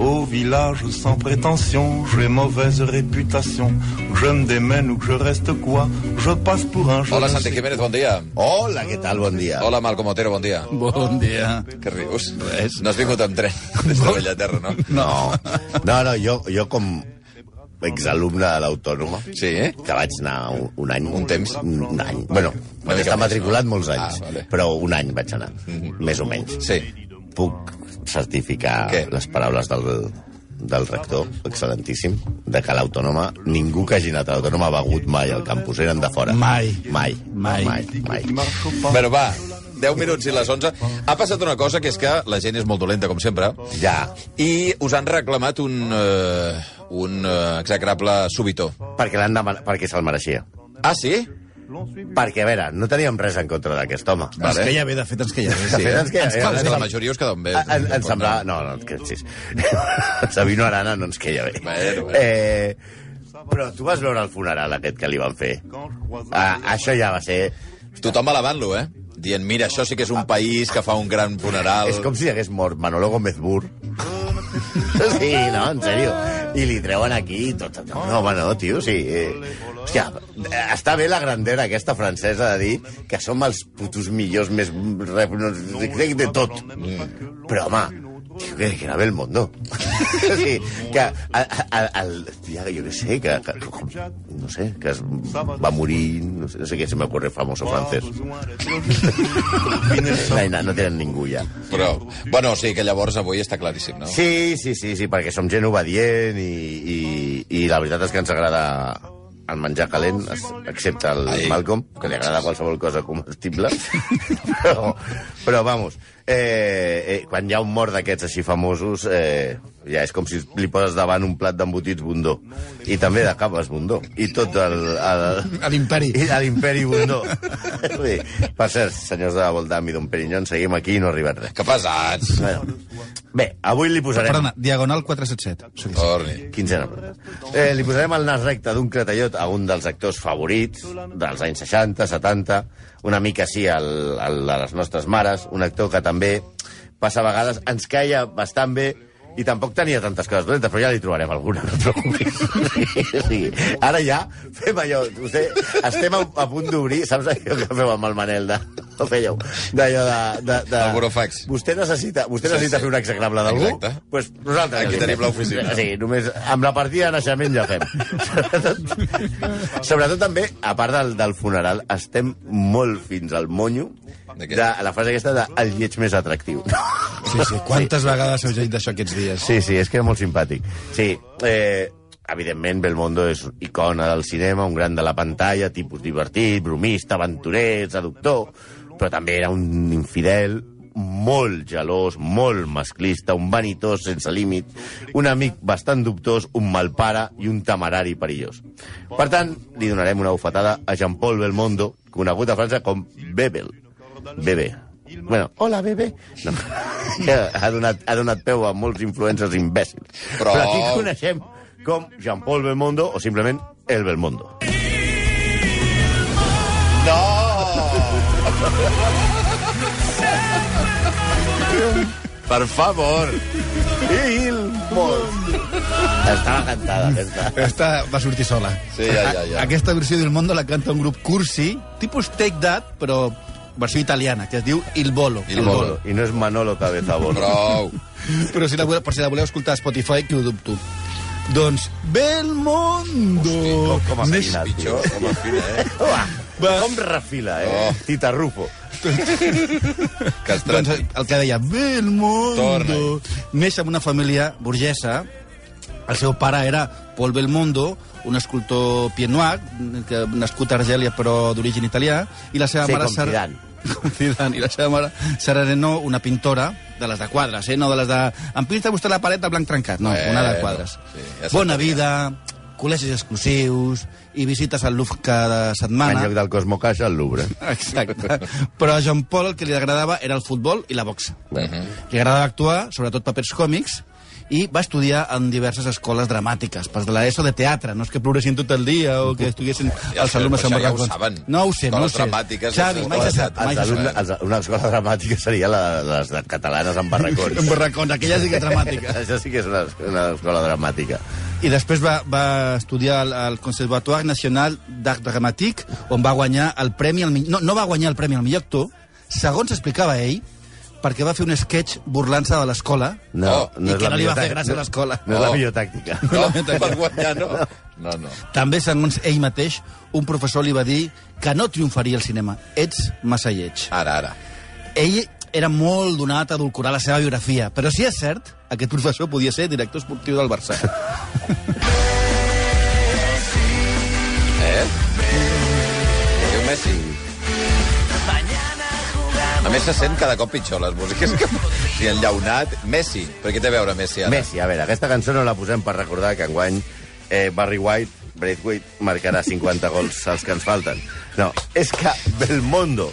Au village sans prétention, j'ai mauvaise réputation. Je me démène ou que je reste quoi Je passe pour un... je Hola, ne Santi sais Jiménez, bon dia. Hola, què tal? Bon dia. Hola, Malcom Otero, bon dia. Bon dia. Què rius? Res. No has vingut amb tren des de Bellaterra, no? No. No, no, jo, jo com exalumne de l'Autònoma, Sí, eh? que vaig anar un, un any. Un temps? Un, un any. Bueno, Una mica està més, matriculat no? molts anys, Ah, vale. Mhm. però un any vaig anar, més o menys. Sí. Puc certificar Què? les paraules del, del rector, excel·lentíssim, de que a l'Autònoma, ningú que hagi anat a l'Autònoma ha begut mai al campus, eren de fora. Mai. Mai. Mai. Mai. mai. Bueno, va, 10 minuts i les 11. Ha passat una cosa, que és que la gent és molt dolenta, com sempre, Ja. i us han reclamat un, eh, un eh, execrable subitó. Perquè, l'han demanat- perquè se'l mereixia. Ah, sí? Perquè, a veure, no teníem res en contra d'aquest home. Vale. Es que ja ve, de fet, ens que ja ve. Sí, fet, eh? ens queda- Ens cal, ens eh, és que la cal- majoria us queda on bé. A- en, en semblava... No, no, que sí. Sabino Arana no ens queia bé. Bueno, bueno. Eh, però tu vas veure el funeral aquest que li van fer. Ah, això ja va ser... Tothom alabant-lo, eh? Dient, mira, això sí que és un país que fa un gran funeral. És com si hagués mort Manolo Gómez Bur. sí, no, en sèrio. I li treuen aquí i tot. No, home, no, tio, sí. Eh, hòstia, eh, està bé la grandera aquesta francesa de dir que som els putos millors més... re- no sé, de tot. Mm. Però, home, tio, que, que era bé el mundo. sí, que a, a, a, el, ja, jo què sé, que, que, com- no sé, que es va morir, no sé, no sé què se m'ocorre famoso francès. Ai, no, no tenen ningú ja. Però, bueno, sí, que llavors avui està claríssim, no? Sí, sí, sí, sí, perquè som gent obedient i, i, i la veritat és que ens agrada el menjar calent, es- excepte el Ai. Ai. Malcolm, que li agrada qualsevol cosa comestible. però, però, vamos, eh, eh, quan hi ha un mort d'aquests així famosos, eh, ja és com si li poses davant un plat d'embotits bundó. I també de capes bundó. I tot el... el... A l'imperi. I a l'imperi bundó. sí. Per cert, senyors de la Voldam i Don Perignon, seguim aquí i no ha arribat res. Que pesats. Bueno. Bé, avui li posarem... Perdona, diagonal 477. Sí. Torni. Quinzena pregunta. Eh, li posarem el nas recte d'un clatellot a un dels actors favorits dels anys 60, 70, una mica sí al, al de les nostres mares, un actor que també passa a vegades, ens caia bastant bé i tampoc tenia tantes coses dolentes, però ja li trobarem alguna, no et preocupis. Sí, sí. Ara ja fem allò, vostè, estem a, a punt d'obrir, saps allò que feu amb el Manel de... No fèieu, d'allò de... de, de El burofax. Vostè necessita, vostè Sí, necessita sí. fer un execrable d'algú? Exacte. pues nosaltres... Aquí ja li tenim fem. l'oficina. Sí, només amb la partida de naixement ja fem. Sobretot, sobretot també, a part del, del funeral, estem molt fins al monyo De què? de la frase aquesta de el lleig més atractiu. Sí, sí. Quantes vegades heu llegit d'això aquests dies? Sí, sí, és que era molt simpàtic. Sí, eh, evidentment Belmondo és icona del cinema, un gran de la pantalla, tipus divertit, bromista, aventurer, seductor, però també era un infidel, molt gelós, molt masclista, un vanitós sense límit, un amic bastant dubtós, un mal pare i un temerari perillós. Per tant, li donarem una bufetada a Jean-Paul Belmondo, conegut a França com Bebel. Bebé. Bueno, hola, bebé. No. ha, donat, ha donat peu a molts influencers imbècils. Però- Però... Però aquí el coneixem com Jean-Paul Belmondo o simplement El Belmondo. Per favor. El Belmondo. Estava cantada, aquesta. Aquesta va sortir sola. Sí, ja, ja, ja. A- Aquesta versió del Mondo la canta un grup cursi, tipus Take That, però versió italiana, que es diu Il Bolo. Il Bolo. I no és Manolo Cabezabol. Prou. Però si la, voleu- per si la voleu escoltar a Spotify, que ho dubto. Doncs, Belmondo! Com, com Neix- afina, tio. Pitjor, home, fina, eh? Uah, Va. com refila, eh? Oh. Tita Rufo. Castrat. Doncs el, el que deia, Belmondo, Torna-hi. neix en una família burgesa. El seu pare era Paul Belmondo, un escultor pienoir, que nascut a Argèlia però d'origen italià, i la seva Sí, mare... com Zidane. Com Zidane. I la seva mare, Sara Reno, una pintora de les de quadres, eh? no de les de... Em pinta vostè la paret de blanc trencat, no, Eh, una de no, quadres. sí, ja Bona s'entenia. vida, col·legis exclusius i visites al Louvre cada En setmana. lloc del Cosmo Caixa, el Louvre. Exacte. Però a Jean Paul el que li agradava era el futbol i la boxa. Uh eh, Mhm. -huh. Li agradava actuar, sobretot papers còmics, i va estudiar en diverses escoles dramàtiques, pels de l'ESO de teatre, no és que ploressin tot el dia o que estiguessin els això- alumnes amb això ja ho barracons. saben. No ho sé, no ho Escoles sé. dramàtiques, Xavi, mai se escoles sap, Els mai se sap. alumnes, els, una escola dramàtica seria la, les de catalanes amb barracons. En barracons, aquella sí que és dramàtica. Això sí que és una, una escola dramàtica. I després va, va estudiar al, al Conservatoire Nacional d'Art Dramàtic, on va guanyar el premi... Al, mi- no, no va guanyar el premi al millor actor, segons explicava ell, perquè va fer un sketch burlant-se de l'escola. No, Oh, no i és que la no li millor va fer tàctica. gràcia a l'escola. No és la Oh. millor tàctica. No, per guanyar, no. No, no. També, segons ell mateix, un professor li va dir que no triomfaria al cinema. Ets massa lleig. Ara, ara. Ell era molt donat a edulcorar la seva biografia, però si és cert, aquest professor podia ser director esportiu del Barça. Eh? Diu Messi. A més, se sent cada cop pitjor, les músiques que... Sí, enllaunat. Messi. Però què té a veure Messi ara? Messi, a veure, aquesta cançó no la posem per recordar que enguany eh, Barry White, Braithwaite, marcarà 50 gols els que ens falten. No, és que Belmondo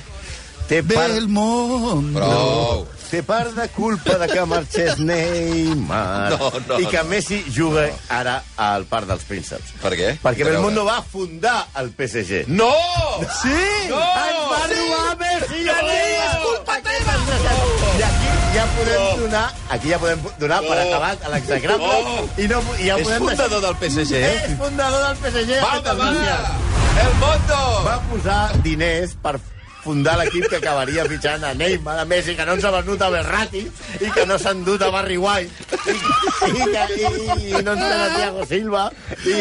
té part... Belmont! Prou. Té part de culpa de que marxés Neymar No, no, i que no. Messi juga ara al Parc dels Prínceps. Per què? Perquè Què té a Belmondo veure? va fundar el PSG. No! Sí! No! Ens va robar Messi! No! És culpa teva! I aquí ja podem donar, aquí ja podem donar per acabat a l'exagrable No! i, no, i ja És podem fundador del PSG, Eh? eh? És fundador del PSG. Va, aquest va, va! Almunia. El Mondo! va posar diners per fundar l'equip que acabaria fitxant a Neymar, a Messi, que no ens ha venut a Berrati i que no s'ha endut a Barry White i, i, que, i, i no ens ven a Thiago Silva i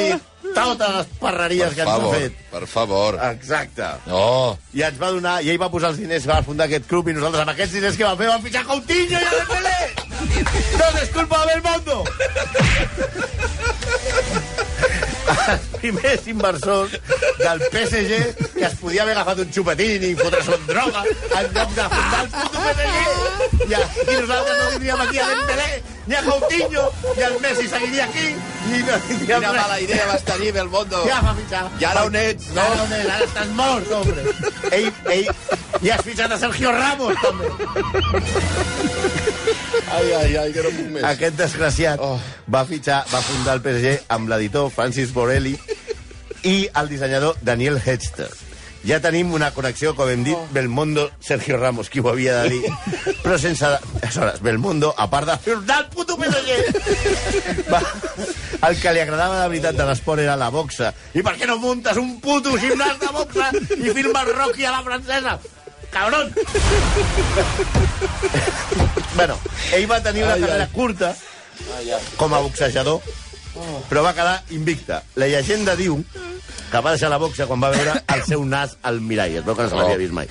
totes les Per perreries que ens ha favor, fet. Ah. per favor. Exacte. No. I ens va donar, i ell va posar els diners que va fundar aquest club i nosaltres amb aquests diners que va fer vam fitxar Coutinho i a Dembélé! Tot és culpa de Belmondo! els primers inversors del PSG que es podia haver agafat un xupetín i fotre-se amb droga en lloc de fundar el puto PSG. I, a, I nosaltres no tindríem aquí a Dembélé ni a Coutinho, i el Messi seguiria aquí, i no tindríem Quina res. mala idea vas tenir, Belmondo. Ja va fitxar. I ara on ets, no? Ara on ets, ara estàs mort, hombre. Ei, ei, i has fitxat a Sergio Ramos, també. Ai, ai, ai, que no puc més. Aquest desgraciat oh. va fitxar, va fundar el PSG amb l'editor Francis Borelli i el dissenyador Daniel Hedster. Ja tenim una connexió, com hem dit, oh. Belmondo, Sergio Ramos, qui ho havia de dir. Però sense... Aleshores, Belmondo, a part de fundar el puto PSG, va... el que li agradava de veritat de l'esport era la boxa. I per què no muntes un puto gimnàs de boxa i firmes Rocky a la francesa? Cabrón! bueno, ell va tenir una carrera curta com a boxejador, però va quedar invicta. La llegenda diu que va deixar la boxa quan va veure el seu nas al mirall. Es veu que no se Oh. l'havia vist mai.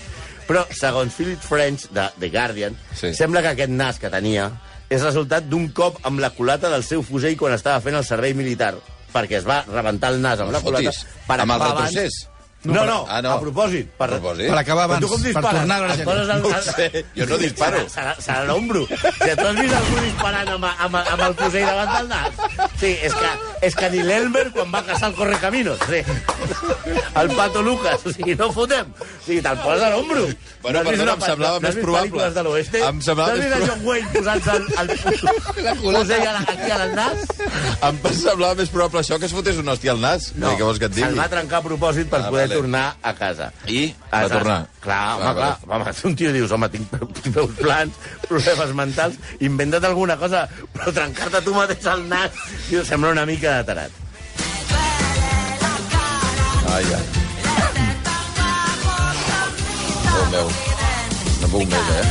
Però, segons Philip French, de The Guardian, Sí. sí. sembla que aquest nas que tenia és resultat d'un cop amb la culata del seu fusell quan estava fent el servei militar, perquè es va rebentar el nas amb No la culata... fotis. Amb el acabar abans- retrocés? No, no, Ah, ah, no. no, a propòsit. Per, A propòsit. Per acabar Però abans, tu com per dispares? tornar a la Et gent. poses al- No ho sé, jo no disparo. Serà- Serà, serà l'ombro. Si tu has vist algú disparant amb, amb, amb el fusell davant del nas. Sí, és que, és que ni l'Elmer quan va caçar el Correcaminos. Sí. El Pato Lucas. O sigui, no fotem. O sigui, te'l poses a l'ombro. Bueno, has vist perdona, una em pa- semblava no has més vist probable. pel·lícules de l'oest? Em semblava no has més vist a probable. John Wayne posant-se el, el, fusell a la, aquí al nas? Em semblava més probable això que es fotés un hòstia al nas. No. Què vols que et Se'l digui? va trencar a propòsit per Ah, ah, poder vale. tornar a casa. I? A Va casa. tornar? Clar, home, Ah, ah, clar. vale. Home, si un tio dius, home, tinc pe- peus plans, problemes mentals, inventa't alguna cosa, però trencar-te tu mateix al nas, tio, sembla una mica de tarat. Ai, ai. Déu meu. No puc més, eh?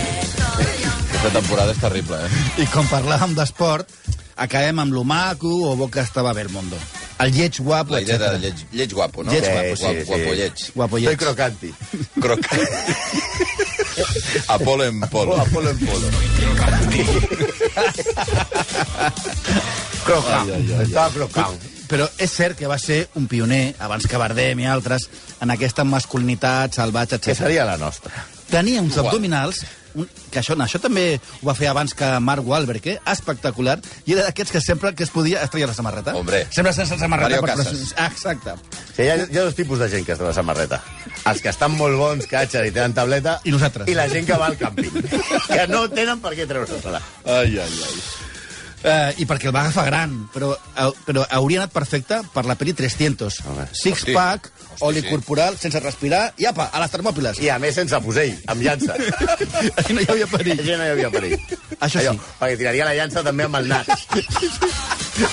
Aquesta temporada és terrible, eh? I com parlàvem d'esport, acabem amb lo maco o bo que estava Belmondo. El lleig guapo, La idea de etc. lleig, lleig guapo, no? Lleig Sí, guapo, guapo, sí, guapo sí. lleig. Guapo lleig. crocanti. Croca... Apolo en polo. polo en polo. Croca. Estava crocant. Però és cert que va ser un pioner, abans que Bardem i altres, en aquesta masculinitat salvatge, Que etc. seria la nostra. Tenia uns abdominals un, que això, això també ho va fer abans que Mark Wahlberg, eh? espectacular, i era d'aquests que sempre que es podia es treia la samarreta. Hombre. Sempre sense samarreta. Mario per- per- Casas. Ah, Exacte. Sí, hi, ha, hi ha dos tipus de gent que es treu la samarreta. Els que estan molt bons, catxen i tenen tableta. I nosaltres. I la gent que va al càmping. que no tenen per què treure-se-la. Ai, ai, ai. Eh, I perquè el va agafar gran, però, eh, però hauria anat perfecte per la peli 300. Home. Six Hosti. pack, Hosti, oli sí. corporal, sense respirar, i apa, a les termòpiles. I a més sense fusell, amb llança. Aquí no hi havia perill. Això no hi havia perill. Això sí. Perquè tiraria la llança també amb el nas.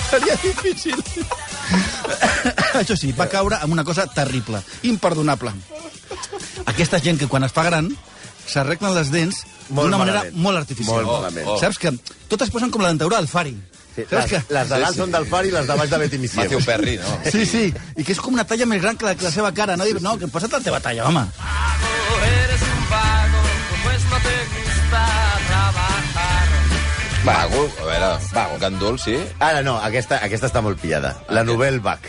Seria difícil. Això sí, va caure en una cosa terrible, imperdonable. Aquesta gent que quan es fa gran s'arreglen les dents Molt d'una manera malament. molt artificial. Oh, Molt malament. Saps que totes posen com la dentadura del fari. Sí, Saps les, les de dalt Sí, sí. són del far i les de baix de Betty Missiev. Matthew Perry, no? Sí, sí, i que és com una talla més gran que la, que la seva cara. No, sí, no que posa't la teva talla, home. Eres un vago, pues no te gusta trabajar. Vago, a veure, vago. Gandul, sí? Ara no, aquesta, aquesta està molt pillada. La novel Bach.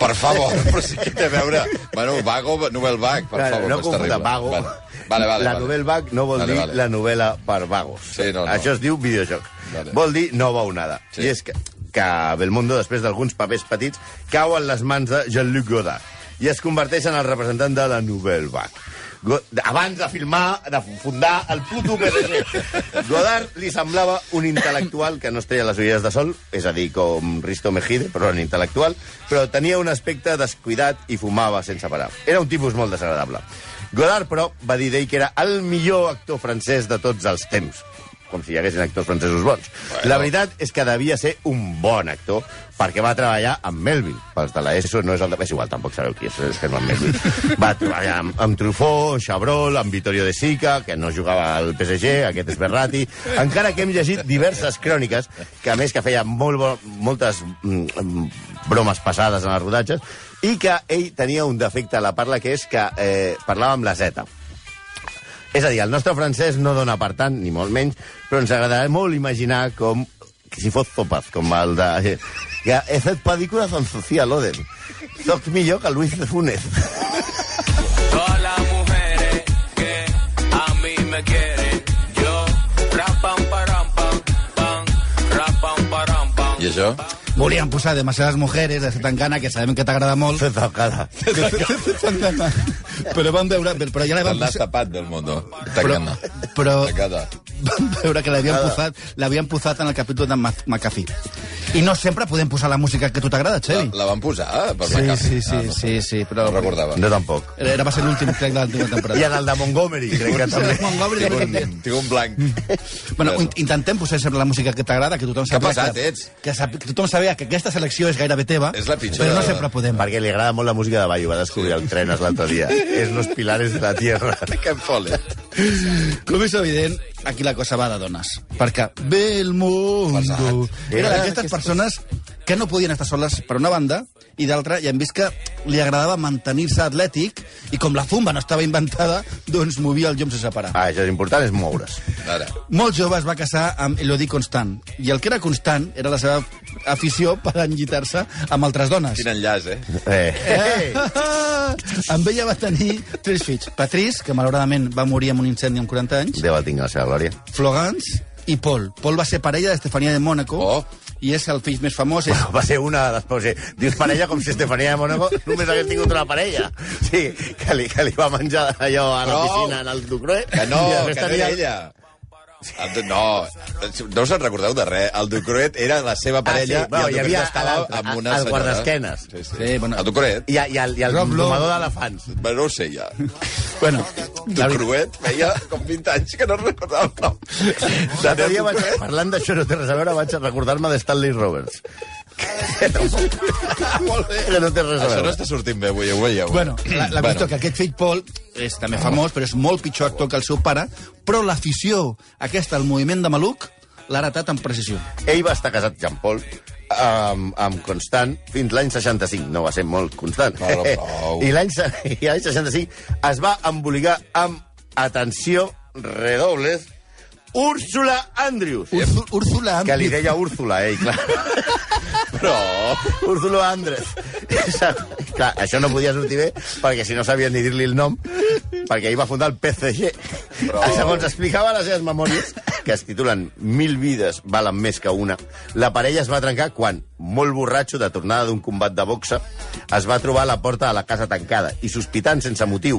Per favor, però sí que té a veure... Bueno, vago, novel vague, per Claro, favor, no que és terrible. confunda vago. Vale, vale, vale. la vale. novel Bach no vol Vale, dir vale. la novel·la per vagos. Sí, no, no. Això es diu videojoc. Vale. Vol dir nova onada. Sí. I és que, que Belmondo, després d'alguns papers petits, cau en les mans de Jean-Luc Godard i es converteix en el representant de la novel Bach. Go- abans de filmar, de fundar el puto PSG. Godard li semblava un intel·lectual que no es treia les ulleres de sol, és a dir, com Risto Mejide, però era un intel·lectual, però tenia un aspecte descuidat i fumava sense parar. Era un tipus molt desagradable. Godard, però, va dir d'ell que era el millor actor francès de tots els temps com si hi haguessin actors francesos bons. Bueno. La veritat és que devia ser un bon actor perquè va treballar amb Melvin. Pels de l'ESO no és el de... És igual, tampoc sabeu qui és, és que no és Melvin. Va treballar amb, amb Truffaut, amb Chabrol, amb Vittorio de Sica, que no jugava al PSG, aquest és Berrati. Encara que hem llegit diverses cròniques, que a més que feia molt bo, moltes mm, bromes passades en els rodatges, i que ell tenia un defecte a la parla, que és que eh, parlava amb la Z. És a dir, el nostre francès no dona per tant, ni molt menys, però ens agradarà molt imaginar com que si fos Topaz, com el de... Que he fet pel·lícules amb Sofia Loden. Soc millor que Luis de Funes. Todas las mujeres que a mí me quieren, yo rapam param pam pam, rapam param pam. I això? Volíem posar demasiades mujeres de Setangana, que sabem que t'agrada molt. Tocada. Setangana. però vam veure... Però ja la El vam nas posar... tapat del món. Però, Tacana. però Tacana. vam veure que l'havien posat, l'havien posat en el capítol de Mac- McAfee. I no sempre podem posar la música que a tu t'agrada, Xevi. La van posar, eh, per Sí, la sí, sí, sí, sí, No però... ho recordava. No tampoc. Era, va ser l'últim crec de l'última temporada. I en el de Montgomery, crec que també. Montgomery, Tinc també. un, tinc un blanc. Bueno, in- intentem posar sempre la música que t'agrada, que tothom Que sàpiga pesat que, ets. que, sap, que tothom sàpiga que aquesta selecció és gairebé teva, És la pitjor però no de- sempre podem. Perquè li agrada molt la música de Bayo, va descobrir el Trenes l'altre dia. És los pilares de la tierra. Ken Follett. Com és evident, aquí la cosa va de dones. Perquè ve el mundo. Era d'aquestes persones que no podien estar soles per una banda i d'altra ja hem vist que li agradava mantenir-se atlètic i com la fumba no estava inventada, doncs movia el llom sense parar. Ah, això és important, és moure's. Ara. Molt jove es va casar amb Elodie Constant i el que era constant era la seva afició per enllitar-se amb altres dones. Quin enllaç, eh? Eh. amb ella va tenir tres fills. Patrice, que malauradament va morir amb un incendi amb 40 anys, Déu el tingui a la seva glòria. Florence i Paul. Paul va ser parella d'Estefania de Mònaco Oh. i és el fill més famós. És... va ser una de les pauses. Dius parella com si Estefania de Mónaco només hagués tingut una parella. Sí, que li, que li va menjar allò a la Prou. piscina, en el Ducroe. Que no, i que després no era tenia- ella. El du- No, no us en recordeu de res. El Ducroet era la seva parella Ah, i sí, bueno, hi el Ducroet havia estava l'altre, amb una el senyora. guardaesquenes. Sí, sí. Sí, bueno. El Ducroet. I, i el, i el Rob Lowe. domador d'elefants. Bueno, no ho sé, ja. Bueno, la veritat- Ducroet feia com 20 anys que no en recordava el nom. L'altre dia vaig, parlant d'això no té res a veure, vaig a recordar-me de Stanley Roberts. ah, Molt bé. Que no té res a Això no veure. està sortint bé, avui, ho veieu. Bueno, la, la qüestió que aquest fill Paul és també famós, però és molt pitjor actor que el seu pare, però l'afició aquesta al moviment de maluc l'ha heretat amb precisió. Ell va estar casat, Jean Paul, amb, amb Constant fins l'any 65. No va ser molt constant. No, no, prou. I l'any se- i l'any 65 es va embolicar amb, atenció, redobles, Úrsula Andrews. Úrzu- Úrsula... Que li deia Úrsula, ell, clar. Però... Úrsula Andres. clar, això no podia sortir bé, perquè si no sabien ni dir-li el nom. perquè ell va fundar el PCG. Però... Segons explicava a les seves memòries, que es titulen Mil vides valen més que una, la parella es va trencar quan, molt borratxo de tornada d'un combat de boxa, es va trobar a la porta de la casa tancada i, sospitant sense motiu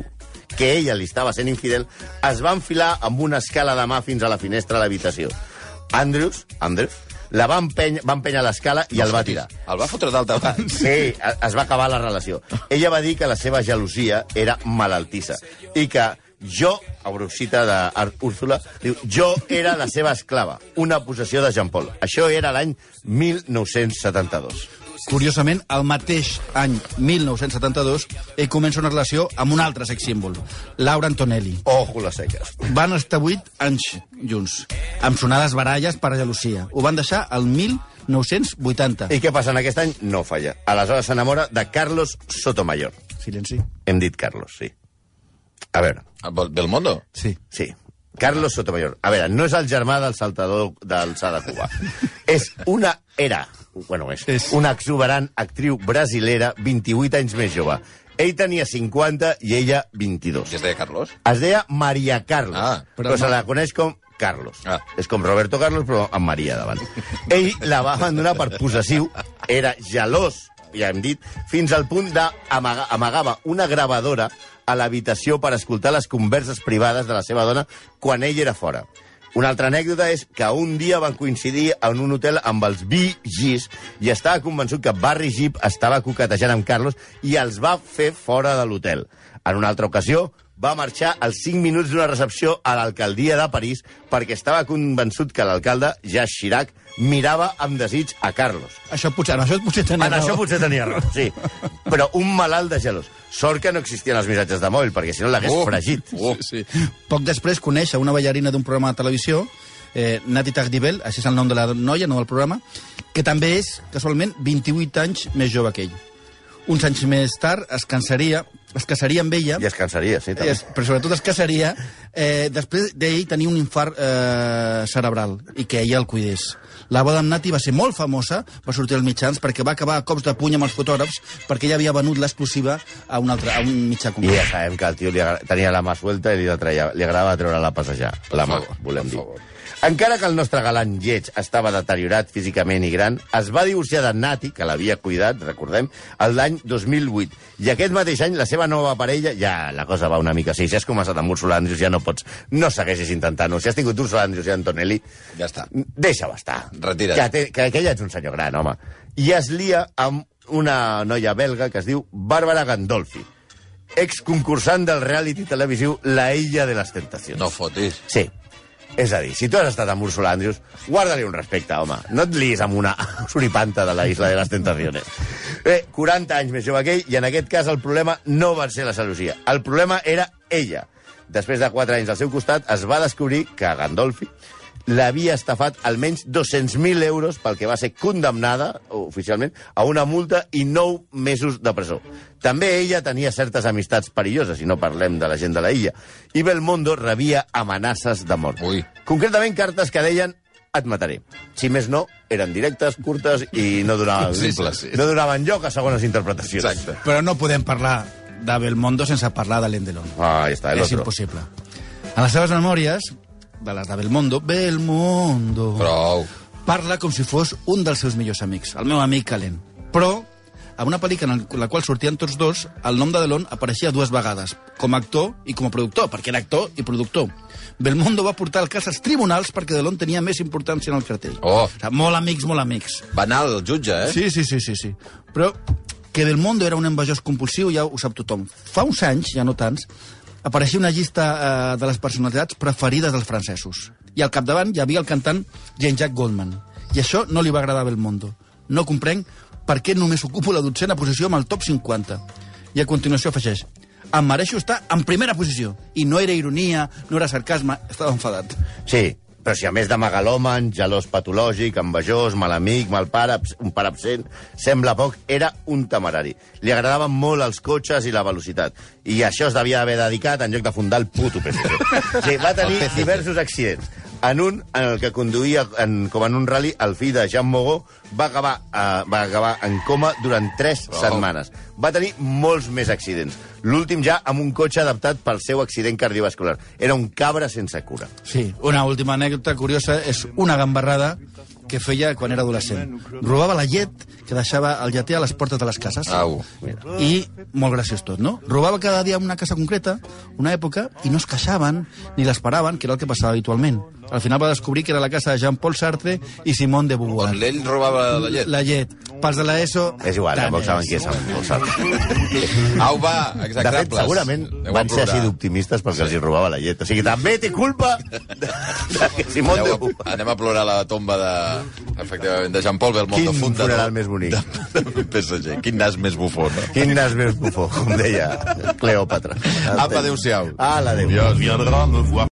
que ella li estava sent infidel, es va enfilar amb una escala de mà fins a la finestra de l'habitació. Andrews, Andrews, la va empènyer, va empènyer l'escala i el va tirar. El va fotre dalt davant. Sí, a- es va acabar la relació. Ella va dir que la seva gelosia era malaltissa i que jo, a Bruxita d'Úrsula, diu, jo era la seva esclava, una possessió de Jean Paul. Això era l'any 1972. Curiosament, el mateix any 1972, ell comença una relació amb un altre sex símbol, Laura Antonelli. Ojo les seques. Van estar 8 anys junts, amb sonades baralles per gelosia. Ho van deixar el 1980. I què passa en aquest any? No falla. Aleshores s'enamora de Carlos Sotomayor. Silenci. Hem dit Carlos, sí. A veure, Ah, Belmondo? Sí. Sí. Carlos Sotomayor. A veure, no és el germà del saltador d'alçada Cuba. és una era, bueno, és, És. una exuberant actriu brasilera 28 anys més jove. Ell tenia 50 i ella Que 22. es deia Carlos? Es deia Maria Carlos, Ah, ah, però però, però se no- la coneix com Carlos. Ah. Ah. És com Roberto Carlos, però amb Maria davant. Ell la va abandonar per possessiu, era gelós, ja hem dit, fins al punt d'amagava una gravadora a l'habitació per escoltar les converses privades de la seva dona quan ell era fora. Una altra anècdota és que un dia van coincidir en un hotel amb els Bee Gees i estava convençut que Barry Gibb estava coquetejant amb Carlos i els va fer fora de l'hotel. En una altra ocasió, va marxar als 5 minuts d'una recepció a l'alcaldia de París perquè estava convençut que l'alcalde, ja Chirac, mirava amb desig a Carlos. Això potser, en això potser tenia En això raó. potser tenia raó, sí. Però un malalt de gelos. Sort que no existien els missatges de mòbil, perquè si no l'hagués Oh. fregit. Oh. Sí. Poc després coneix a una ballarina d'un programa de televisió, eh, Nati Tardibel, així és el nom de la noia, no del programa, que també és, casualment, 28 anys més jove que ell. Uns anys més tard es cansaria, es casaria amb ella, I es cansaria, sí, també. es, però sobretot es casaria, eh, després d'ell tenir un infart eh, cerebral i que ella el cuidés. La boda amb Nati va ser molt famosa, va sortir als mitjans, perquè va acabar a cops de puny amb els fotògrafs, perquè ella havia venut l'exclusiva a un, altre, a un mitjà I concret. ja sabem que el tio li agra... tenia la mà suelta i li, atraia... li agradava treure-la a passejar. La mà, favor, volem per dir. favor. Encara que el nostre galant lleig estava deteriorat físicament i gran, es va divorciar de Nati, que l'havia cuidat, recordem, el l'any 2008. I aquest mateix any, la seva nova parella, ja la cosa va una mica així. Si has començat amb Ursula Andrius, ja no pots... No segueixis intentant-ho. Si has tingut Ursula Andrius i Antonelli, Ja està. deixa-ho estar. Retira't. Que, té, que, que ja ets un senyor gran, home. I es lia amb una noia belga que es diu Bàrbara Gandolfi, exconcursant del reality televisiu La Illa de les Tentacions. No fotis. Sí. És a dir, si tu has estat amb Úrsula Andrius, guarda-li un respecte, home. No et liis amb una suripanta de la Isla de les Tentaciones. Bé, 40 anys més jove que ell, i en aquest cas el problema no va ser la gelosia. El problema era ella. Després de 4 anys al seu costat, es va descobrir que Gandolfi l'havia estafat almenys 200.000 euros pel que va ser condemnada, oficialment, a una multa i 9 mesos de presó. També ella tenia certes amistats perilloses, si no parlem de la gent de la illa, i Belmondo rebia amenaces de mort. Ui. Concretament, cartes que deien et mataré. Si més no, eren directes, curtes i no donaven, Sí, sí, sí. No donaven lloc a segones interpretacions. Exacte. Però no podem parlar de Belmondo sense parlar de l'Endelon. Ah, ja està, És l'altre. impossible. A les seves memòries, de les de Belmondo, Belmondo Prou. parla com si fos un dels seus millors amics, el meu amic Calen. Però, a una pel·lícula en la qual sortien tots dos, el nom de Delon apareixia dues vegades, com a actor i com a productor, perquè era actor i productor. Belmondo va portar el cas als tribunals perquè Delon tenia més importància en el cartell. Oh. O sigui, molt amics, molt amics. Va anar el jutge, eh? Sí, sí, sí, sí, sí. Però que Belmondo era un envejós compulsiu ja ho sap tothom. Fa uns anys, ja no tants, apareixia una llista eh, de les personalitats preferides dels francesos. I al capdavant hi havia el cantant Jean-Jacques Goldman. I això no li va agradar a Belmondo. No comprenc per què només ocupo la dotzena posició amb el top 50. I a continuació afegeix em mereixo estar en primera posició. I no era ironia, no era sarcasme, estava enfadat. Sí, però si a més de megalòman, gelós patològic, envejós, mal amic, mal pare, abs- un pare absent, sembla poc, era un temerari. Li agradaven molt els cotxes i la velocitat. I això es devia haver dedicat en lloc de fundar el puto PSC. Sí, va tenir diversos accidents. en un en el que conduïa en, com en un rally, el fill de Jean Mogó va acabar, eh, va acabar en coma durant 3 oh. setmanes. Va tenir molts més accidents. L'últim ja amb un cotxe adaptat pel seu accident cardiovascular. Era un cabra sense cura. Sí, una última anècdota curiosa és una gambarrada que feia quan era adolescent. Robava la llet que deixava el lleter a les portes de les cases. Au. I, molt graciós tot, no? Robava cada dia una casa concreta, una època, i no es queixaven ni l'esperaven, que era el que passava habitualment. Al final va descobrir que era la casa de Jean-Paul Sartre i Simone de Beauvoir. Quan l'ell robava la llet. La llet. Pels de l'ESO... És igual, tant tampoc és. saben qui és el Mozart. Au, va, De exacte. fet, segurament van ser així d'optimistes perquè els hi robava la llet. O sigui, també té culpa de, de, de Simón de Aneu, a, Beauvoir. anem a plorar a la tomba de, efectivament, de Jean-Paul Belmondo Quin Funda. funeral més bonic. De, de PSG. Quin nas més bufó, no? Quin nas més bufó, com deia Cleòpatra. Apa, adéu-siau. Ala, adéu. viendra me voir.